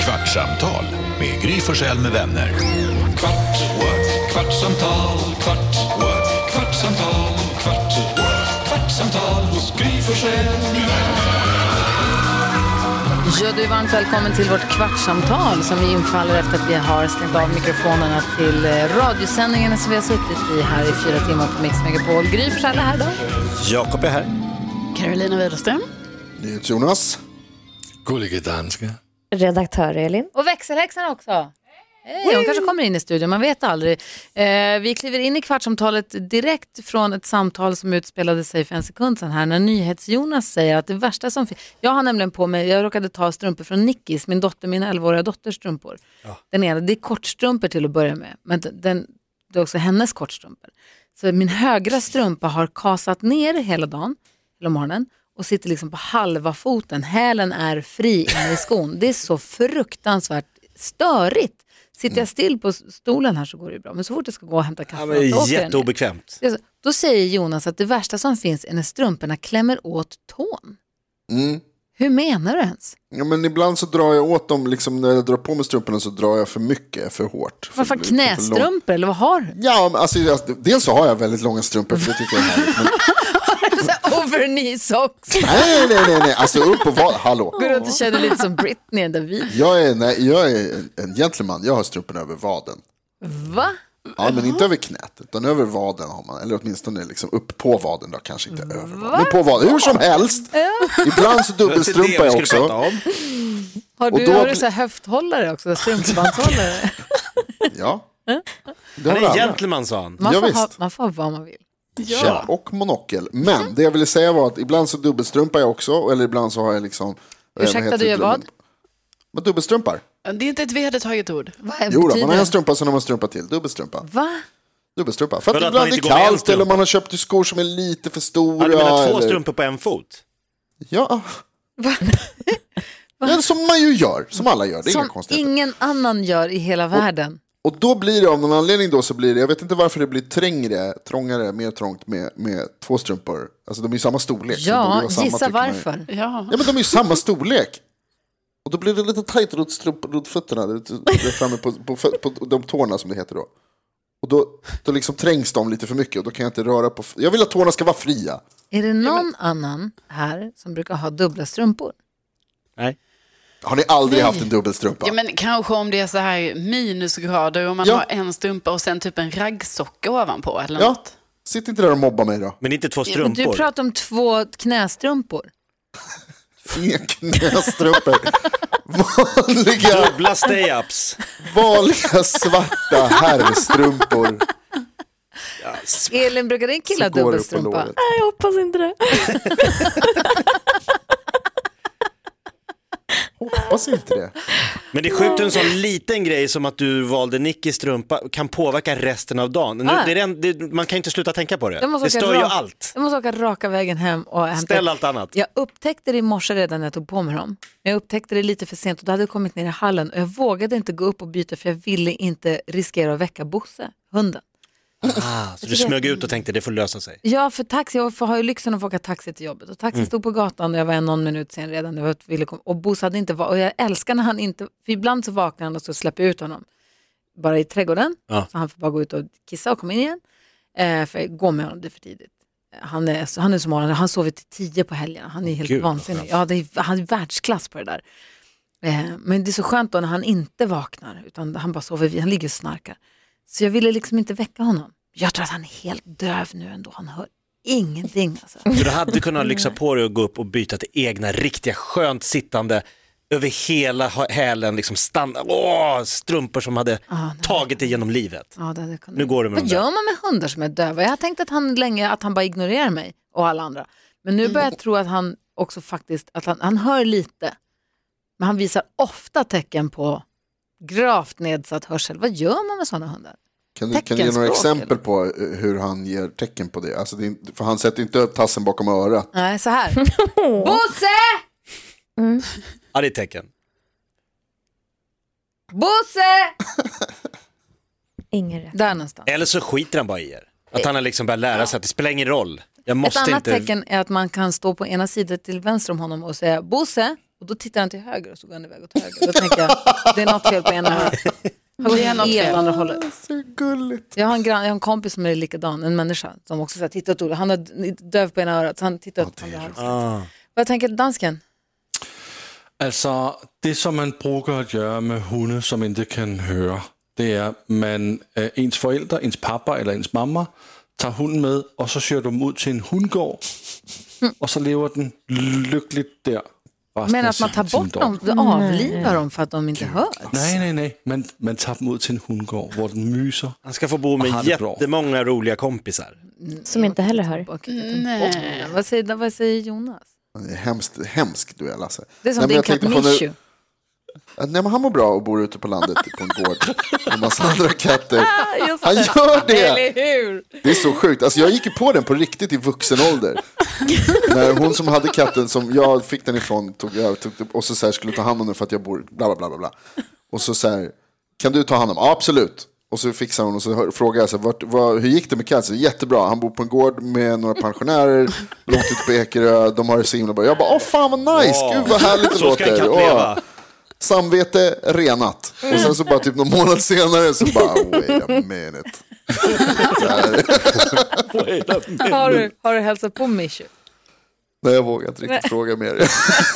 Kvartsamtal med Gry Forssell med vänner. Kvart, what? kvartsamtal, kvart, what? kvartsamtal, kvart, what? kvartsamtal hos Gry Forssell med vänner. Ja, du är varmt välkommen till vårt kvartssamtal som ju infaller efter att vi har stängt av mikrofonerna till eh, radiosändningarna som vi har suttit i här i fyra timmar på Mix Megapol. Gry Forssell är här då. Jakob är här. Carolina Widerström. Jonas. Gullige danska. Redaktör Elin. Och växelhäxan också. Hej, hon kanske kommer in i studion, man vet aldrig. Eh, vi kliver in i kvartsamtalet direkt från ett samtal som utspelade sig för en sekund sedan här när NyhetsJonas säger att det värsta som finns, jag har nämligen på mig, jag råkade ta strumpor från Nickis, min dotter, min 11-åriga dotters strumpor. Den ena, det är kortstrumpor till att börja med, men den- den, det är också hennes kortstrumpor. Så min högra strumpa har kasat ner hela dagen, hela morgonen och sitter liksom på halva foten. Hälen är fri inne i skon. Det är så fruktansvärt störigt. Sitter jag still på stolen här så går det ju bra, men så fort jag ska gå och hämta Ja, kaffe men det så är åker jag ner. jätteobekvämt. Det är så. Då säger Jonas att det värsta som finns är när strumporna klämmer åt tån. Mm. Hur menar du ens? Ja, men ibland så drar jag åt dem, liksom, när jag drar på mig strumporna så drar jag för mycket, för hårt. För, Varför för långt. knästrumpor eller vad har du? Ja, men alltså, jag- dels så har jag väldigt långa strumpor, för det tycker jag är härligt. Men, Så här Over knee socks. nej, nej, nej, nej, alltså upp och vad, hallå. Går runt och känner lite som Britney eller David. Jag är, nej, jag är en- en gentleman, jag har strumporna över vaden. Va? Ja, men inte över knät, utan över vaden har man, eller åtminstone liksom upp på vaden då, kanske inte över vaden. Men på vaden, hur som helst. Ibland Det så var inte det dubbelstrumpar vi jag skulle också. prata om. Har Och du, då har du bli- så här höfthållare också? Strumpbandshållare? Ja. Det Han har är en alla. gentleman sa han. Man, Ja, får ha, visst. man får ha vad man vill. Ja. Och monokel. Men det jag ville säga var att ibland så dubbelstrumpar jag också. Eller ibland så har jag liksom... eh, vad Ursäkta, heter du gör det? vad? Men dubbelstrumpar. Det är inte ett vedertaget ord. Vad är Jo då, man betyder har en det? strumpa, sen har man en strumpa till. Dubbelstrumpa. Va? Dubbelstrumpa. För att, För att man ibland det inte är går med en kallt strumpa. eller man har köpt skor som är lite för stora. Ja, du menar två eller... strumpor på en fot? Ja. Ja, som man ju gör, som alla gör. Det är inga Som konstigheter. ingen annan gör i hela världen. Och då blir det av någon anledning då så blir det, jag vet inte varför det blir trängre, trångare, mer trångt med, med två strumpor. Alltså de är ju samma storlek. så det borde Ja, vara samma, gissa tycker man ju. varför. Ja. Ja men de är ju samma storlek. Och då blir det lite tajt runt, strump, runt fötterna, runt- runt framme på, på, fö- på de tårna som det heter då. Och då, då liksom trängs de lite för mycket och då kan jag inte röra på... f- Jag vill att tårna ska vara fria. Är det någon annan här som brukar ha dubbla strumpor? Nej. Har ni aldrig haft en dubbelstrumpa? Ja, men kanske om det är så här minusgrader och man Ja. har en strumpa och sen typ en raggsocka ovanpå eller Ja. något. Sitt inte där och mobba mig då. Men inte två Men strumpor. du pratar om två knästrumpor. Inga knästrumpor. vanliga, Dubbla stay-ups. vanliga svarta herrstrumpor. Elin, brukar din kille ha som går upp på dubbelstrumpa? låret. Jag hoppas inte det. Hoppas inte det. Men det är sjukt hur en sån liten grej som att du valde Nickis strumpa kan påverka resten av dagen. Nu, Ah. det är en, det, man kan inte sluta tänka på det. Jag måste Det åka stör ju rak- allt. Jag måste åka raka vägen hem och hämta. Ställ allt annat. Jag upptäckte det i morse redan när jag tog på mig dem. Men jag upptäckte det lite för sent och då hade jag kommit ner i hallen och jag vågade inte gå upp och byta för jag ville inte riskera att väcka Bosse, hunden. Ah, så du smög ut och tänkte det får lösa sig. Ja, för taxi, jag får- har ju lyxen att få åka taxi till jobbet och taxi stod på gatan och jag var en någon minut sen redan jag var- ville komma. och Bosse hade inte va- och jag älskar när han inte, för ibland så vaknar han och så släpper jag ut honom bara i trädgården Ja. så han får bara gå ut och kissa och komma in igen. Eh, för jag går med honom, det är för tidigt. Eh, Han är, så- han är så morgon, han sover till tio på helgen, han är helt Gud, vad vansinnig. Ja, det är, han är världsklass på det där. Eh, men det är så skönt då när han inte vaknar, utan han bara sover, vid- han ligger och snarkar. Så jag ville liksom inte väcka honom. Jag tror att han är helt döv nu ändå, han hör ingenting. Alltså. Så du hade kunnat lyxa på dig och gå upp och byta till egna riktiga skönt sittande över hela ha- hälen, liksom stanna, åh, strumpor som hade tagit dig genom livet. Ja, det hade jag kunnat. Nu går det med Vad de där. gör man med hundar som är döva? Jag har tänkt att han länge att han bara ignorerar mig och alla andra. Men nu börjar jag tro att han också faktiskt, att han, han hör lite. Men han visar ofta tecken på gravt nedsatt hörsel. Vad gör man med sådana hundar? Kan du, kan du ge några Teckenspråk, exempel eller? på eh, hur han ger tecken på det? Alltså det är, inte- för han sätter inte upp tassen bakom örat. Nej, så här. Bosse! Ja, det är ett tecken. Bosse! Ingen rätt. Där någonstans. Eller så skiter han bara i er. Att han har liksom börjat lära sig att det spelar ingen roll. Jag Ett måste annat inte... tecken är att man kan stå på ena sidan till vänster om honom och säga Bosse Och då tittar han till höger och så går han iväg åt höger. Då tänker jag, det är något fel på ena örat. Han går Det är något helt fel. andra hållet. Så gulligt. Jag har, en gran, jag har en kompis som är likadan, en människa som också så här, tittar åt olika. Han är d- döv på ena örat så han tittar åt andra hållet. Ah. Vad tänker dansken? Altså, det som man bruger at gøre med hunde, som ikke kan høre, det er, man øh, ens forældre, ens pappa eller ens mamma, tager hunden med, og så søger du dem ud til en hundgård, og så lever den lykkeligt der. resten Men af att man sin- tar sin bort dag. dem, avlivar dem för att de inte hör? Nej, nej, nej. Man, man tager dem ud til en hundgård, hvor den myser. Han ska få bo Och med han är bra. jättemånga roliga kompisar. Som inte heller hör. Och- Vad säger, vad säger Jonas? Det är hemskt, hemskt du är Lasse. Det är som Nej, men din jag katt tänkte på när- Mishu. Ja, Nej, men han mår bra och bor ute på landet på en gård med en massa andra katter. Han gör det! hur? Det är så sjukt. Alltså, jag gick ju på den på riktigt i vuxen ålder. När hon som hade katten som jag fick den ifrån tog över tog, tog- och så, så här, skulle ta hand om den för att jag bor bla bla bla. bla, bla. Och så så här, kan du ta hand om Ja, absolut. Och så fixar hon och så hör, frågar jag så här, vart, vad, hur gick det med katten? Så, Jättebra, han bor på en gård med några pensionärer långt ute på Ekerö, de har det så himla bra. Jag bara, åh fan vad nice, gud vad härligt det Så ska en låter. katt Åh. leva. Samvete renat. Och sen så bara typ någon månad senare så bara wait a minute. Har du, har du hälsat på Mishu? Nej jag vågar inte riktigt fråga mer.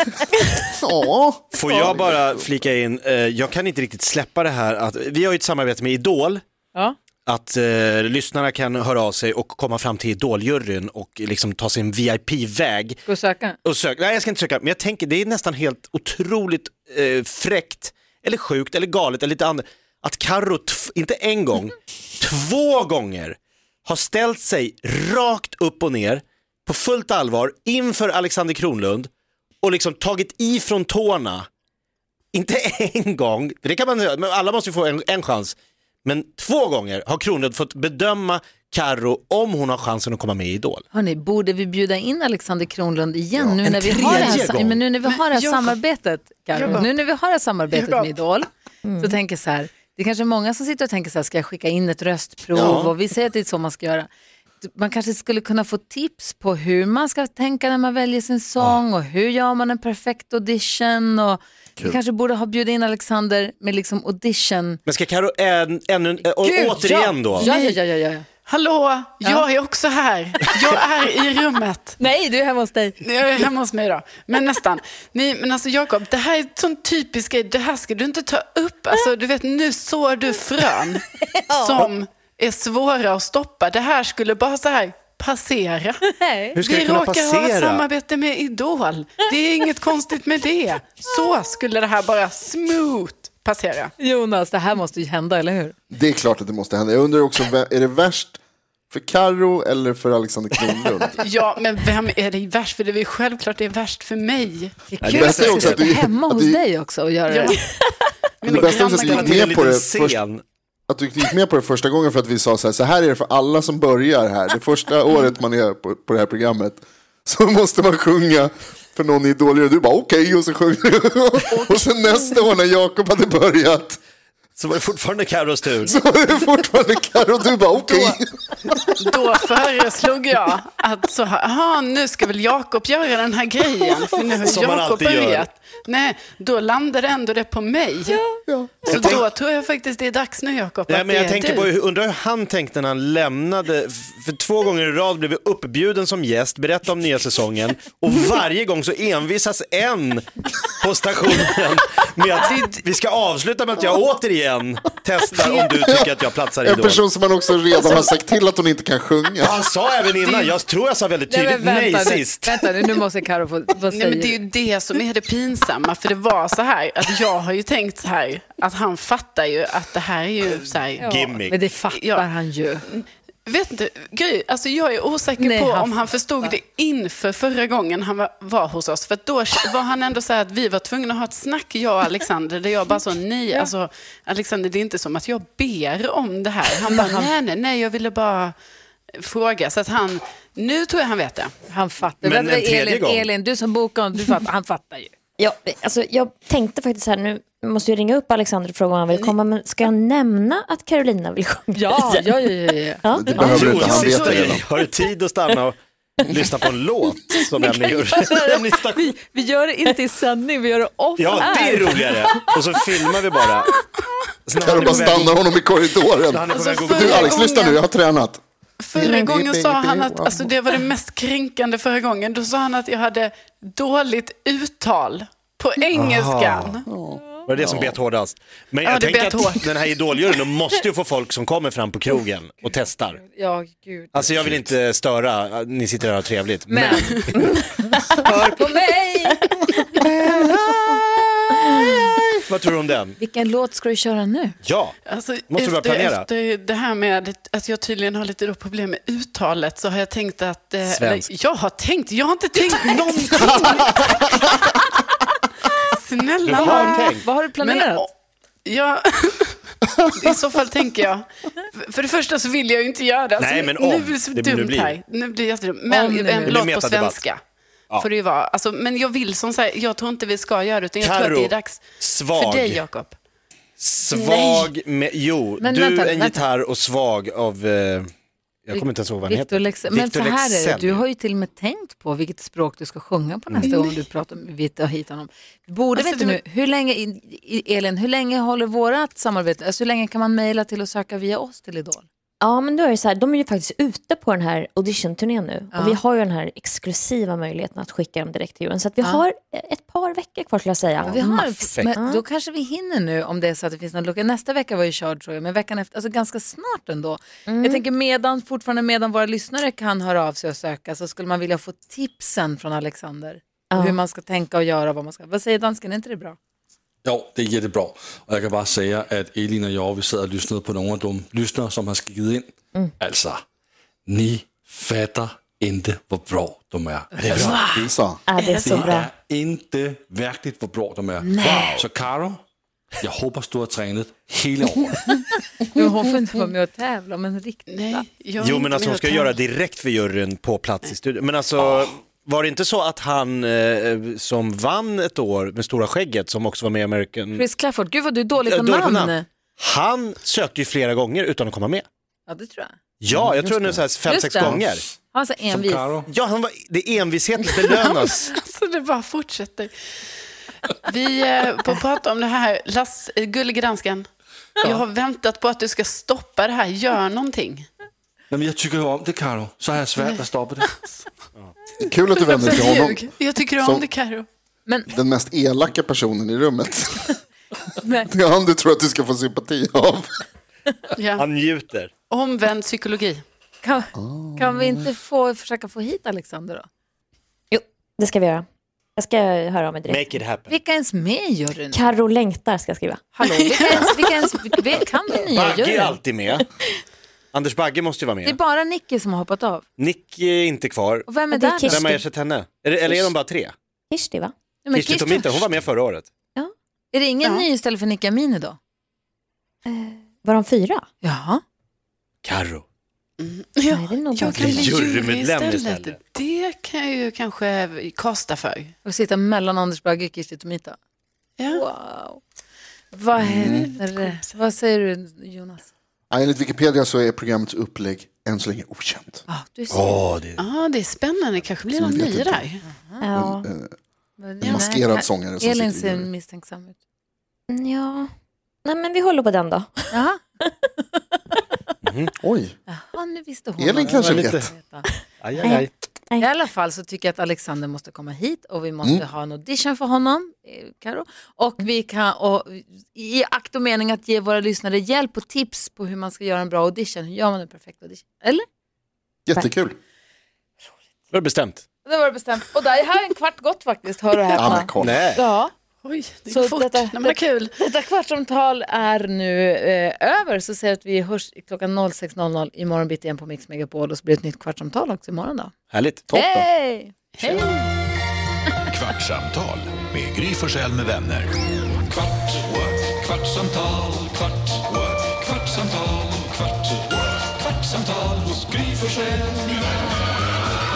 Ja. Får jag bara flika in, eh, jag kan inte riktigt släppa det här att, vi har ju ett samarbete med Idol, Ja. att eh, lyssnarna kan höra av sig och komma fram till Idoljuryn och liksom ta sin VIP-väg. Ska du söka? Och sök, nej jag ska inte söka, men jag tänker det är nästan helt otroligt eh, fräckt, eller sjukt, eller galet, eller lite annat, att Carro, tf- inte en gång, två gånger har ställt sig rakt upp och ner på fullt allvar inför Alexander Kronlund och liksom tagit i från tårna. Inte en gång, för det kan man men alla måste ju få en, en chans. Men två gånger har Kronlund fått bedöma Carro om hon har chansen att komma med i Idol. Hörni, borde vi bjuda in Alexander Kronlund igen nu, en när vi har det här, tredje sa- gång. men nu när vi har det här jag- samarbetet? Karo, jag- nu när vi har det här samarbetet jag- med Idol, så tänker jag så här, det är kanske många som sitter och tänker så här, ska jag skicka in ett röstprov? Och vi säger att det är så man ska göra. Man kanske skulle kunna få tips på hur man ska tänka när man väljer sin sång och hur gör man en perfekt audition? Och vi kanske borde ha bjudit in Alexander med liksom audition. Men ska Carro än, ännu, äh, och Gud, återigen ja. då? Ja, ja, ja, ja, ja. Hallå, jag är också här. Jag är i rummet. Nej, du är hemma hos dig. Jag är hemma hos mig idag, men nästan. Nej, men alltså Jakob, det här är en sån typisk grej. Det här ska du inte ta upp. Alltså, du vet, nu sår du frön som är svåra att stoppa. Det här skulle bara så här passera. Hur ska det Vi kunna råkar ha ett passera? samarbete med Idol. Det är inget konstigt med det. Så skulle det här bara smooth passera. Jonas, det här måste ju hända, eller hur? Det är klart att det måste hända. Jag undrar också, vä- är det värst för Karo eller för Alexander Kronlund? Ja, men vem är det värst för? Det är väl självklart det är värst för mig. Det det är kul bästa att är du också ska att du- sitta hemma att hos du- dig också och göra det. Men det bästa är också att Ställa du grannar kan- gick till en med på liten det först, scen. att du gick med på det första gången för att vi sa så här, så här är det för alla som börjar här. Det första året man är på, på det här programmet så måste man sjunga för någon i Idol och du bara okej och så sjunger du. Och sen nästa år när Jakob hade börjat Så var det fortfarande Carros tur. så var det fortfarande Karo och du bara okej. Då föreslog jag att så här, aha, nu ska väl Jakob göra den här grejen, för nu har Som man Jakob alltid gör. börjat. Nej, då landade ändå det på mig. Så tänk- då tror jag faktiskt det är dags nu, Jakob, Nej, att men det jag är tänker du. på, hur- undrar hur han tänkte när han lämnade, f- för två gånger i rad blev vi uppbjuden som gäst, berätta om nya säsongen och varje gång så envisas en på stationen med att vi ska avsluta med att jag återigen testar om du tycker att jag platsar i En Idol. person som man också redan har sagt till att hon inte kan sjunga. Han sa även innan, jag tror jag sa väldigt tydligt nej, nu, sist. vänta nu, nu måste Karo få, vad Nej, säger men det är ju det som är det pinsamma, för det var så här att jag har ju tänkt så här att han fattar ju att det här är ju så här, Gimmick. Men det fattar Ja. han ju. Vet inte, Gry, alltså jag är osäker Nej, på han om han förstod det inför förra gången han var, var hos oss. För att då var han ändå så här att vi var tvungna att ha ett snack, jag och Alexander, där jag bara sa nej, alltså Alexander, det är inte som att jag ber om det här. Han bara, nej, nej, nej, jag ville bara fråga. Så att han, nu tror jag han vet det. Han fattar. Men Men en tredje Elin, gång. Elin, du som bokar honom, du fattar, han fattar ju. Ja, alltså, jag tänkte faktiskt här, nu måste jag ringa upp Alexander och fråga om han vill komma, men ska jag nämna att Carolina vill sjunga? Ja, ja, ja. ja, ja. Ja. Det behöver du Jo, inte, han sista vet det grej. redan. Har du tid att stanna och lyssna på en låt som Emmy gör. Emmy stack- Vi, vi gör det inte i sändning, vi gör det off Ja, det är air. roligare. Och så filmar vi bara. Så när Kan han du är bara på väg- stanna honom när han i är korridoren? på Alltså väg att gå- Du Alex, lyssna nu, jag har tränat. Förra gången sa han att, alltså det var det mest kränkande förra gången, då sa han att jag hade dåligt uttal på engelskan. Var det det som bet hårdast? Men Ja, jag det tänker bet att hårt. den här idoljuryn, de måste ju få folk som kommer fram på krogen och testar. Ja, gud. Alltså jag vill inte störa, ni sitter här och har trevligt. Men, Men, hör på mig! vad tror du om den? Vilken låt ska du köra nu? Ja, Alltså, Måste du börja efter, planera? efter det här med att jag tydligen har lite då problem med uttalet så har jag tänkt att... eh, Svensk. eller, jag har tänkt, jag har inte tänkt någonting. Snälla Du har nån. tänkt. Vad har du planerat? Men, ja, I så fall tänker jag. För- För det första så vill jag ju inte göra det. Nej, Alltså, men om. Nu blir det så Det- nu dumt blir- här. Nu blir det jättedumt. Om Men det nu- en Det blir låt på metadebatt. svenska. Får det ju vara. Alltså, men jag vill som sagt, jag tror inte vi ska göra det. Utan jag tror att det Karo, är dags svag. för dig, Jakob. svag med, jo, Men du vänta, en vänta. gitarr och svag av, eh, jag kommer inte ens ihåg vad han Victor heter. Lex- men så Victor här är det, Leksell. du har ju till och med tänkt på vilket språk du ska sjunga på nästa gång du pratar med vi tar hit honom. Borde vi Alltså, inte det- nu, hur länge, i- i- Elin, hur länge håller vårat samarbete, alltså hur länge kan man mejla till och söka via oss till Idol? Ja, men då är det så här, de är ju faktiskt ute på den här auditionturnén nu. Och vi har ju den här exklusiva möjligheten att skicka dem direkt till juryn. Så att vi har ett par veckor kvar skulle jag säga. Vi har, Max. men då kanske vi hinner nu om det är så att det finns någon lucka. Nästa vecka var ju körd tror jag, men veckan efter, alltså ganska snart ändå. Jag tänker medan, fortfarande medan våra lyssnare kan höra av sig och söka så skulle man vilja få tipsen från Alexander. Hur man ska tänka och göra, vad man ska, vad säger dansken, är inte det bra? Jo, det är jättebra. Och jag kan bara säga att Elin och jag, vi sad och lyssnade på några av de lyssnare som har skickat in. Mm. Alltså, ni fattar inte hur bra de är. Det är, Så. Ja, det är så det bra. är inte verkligt hur bra de är. Så Karo, jag hoppas du har tränat hela året. Men hon får inte vara med och tävla, men riktigt. Nej, jag är Jo, inte men alltså med hon och ska tar- göra direkt för juryn på plats i studion. Men alltså, Ah. var det inte så att han eh, som vann ett år med stora skägget, som också var med i American... Chris Clafford, gud vad du är dålig på Ja, dålig på namn. namn. Han sökte ju flera gånger utan att komma med. Ja, det tror jag. Ja, jag tror det är så här fem, Mm, Just sex det. gånger. Han var så Som envis. Karo. Ja, han var, det är envisheten belönas. Alltså det bara fortsätter. Vi eh, på att prata om det här, Lass, eh, gullige dansken. Jag har väntat på att du ska stoppa det här, gör någonting. Nej, men jag tycker ju om det Karo, så har jag svårt att stoppa det. Kul att du vänder dig till honom, Alltså, Ljug. Jag tycker om Som- det Karo. den mest elaka personen i rummet. Nej. Det är han du tror att du ska få sympati av. Ja. Han njuter. Omvänd psykologi. Kan, Ah. kan vi inte få, försöka få hit Alexander då? Jo, det ska vi göra. Jag ska höra av mig direkt. Make it happen. Vilka är ens med i juryn? Karo längtar ska jag skriva. Hallå, vilka, ens, vilka, ens, vilka kan vi nya Bagge är juryn? alltid med. Anders Bagge måste ju vara Det är med. bara Nicky som har hoppat av. Nick är inte kvar. Och vem är Det är där då? Kirsten. Vem har ersatt henne? Är det- Eller är de bara tre? Kirsti, va? Nej, men Kirsti Tomita, hon var med förra året. Är det ingen Ja. ny istället för Nicky Amini då? Var de fyra? Jaha. Carro. Ja, Nej, det är nog bara jag kan bli Jurymedlem jury istället. istället. Det kan jag ju kanske kasta för. Och sitta mellan Anders Bagge och Kirsti Tomita. Ja. Wow. Vad Mm. händer? Vad säger du Jonas? Nej, Enligt Wikipedia så är programmets upplägg än så länge okänt. Ah, du är så... Åh, det är Ja, typ- det är spännande. Det kanske blir någon vet ny inte. där. Ja. Men- eh, En maskerad Nej, sångare som Elin sitter i ser juryn. misstänksam ut. ja. Nej, men vi håller på den då. Jaha, Oj, ja, nu visste hon. Elin vad- kanske vad- vet. veta. Aj, aj, aj. I alla fall så tycker jag att Alexander måste komma hit och vi måste Mm. ha en audition för honom, eh, Karo. Och vi kan, och, i akt och mening att ge våra lyssnare hjälp och tips på hur man ska göra en bra audition. Hur gör man en perfekt audition? Eller? jättekul. Var det bestämt? Det var det bestämt. Och där är här en kvart gått faktiskt, hör och Ja, men häpna. kolla. Nej. Ja, Oj, det Så går fort. detta- Nej, men det är kul. detta kvartsamtal är nu eh, över så säger jag att vi hörs klockan 06.00 imorgon bitti igen på Mix Megapol och så blir det ett nytt kvartsamtal också imorgon då. Härligt. Hej! Hej! Kvartsamtal med Gry Forssell med vänner. Kvart, what? kvartsamtal, kvart, what? kvartsamtal, kvart, what? kvartsamtal hos Gry Forssell med vänner.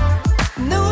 No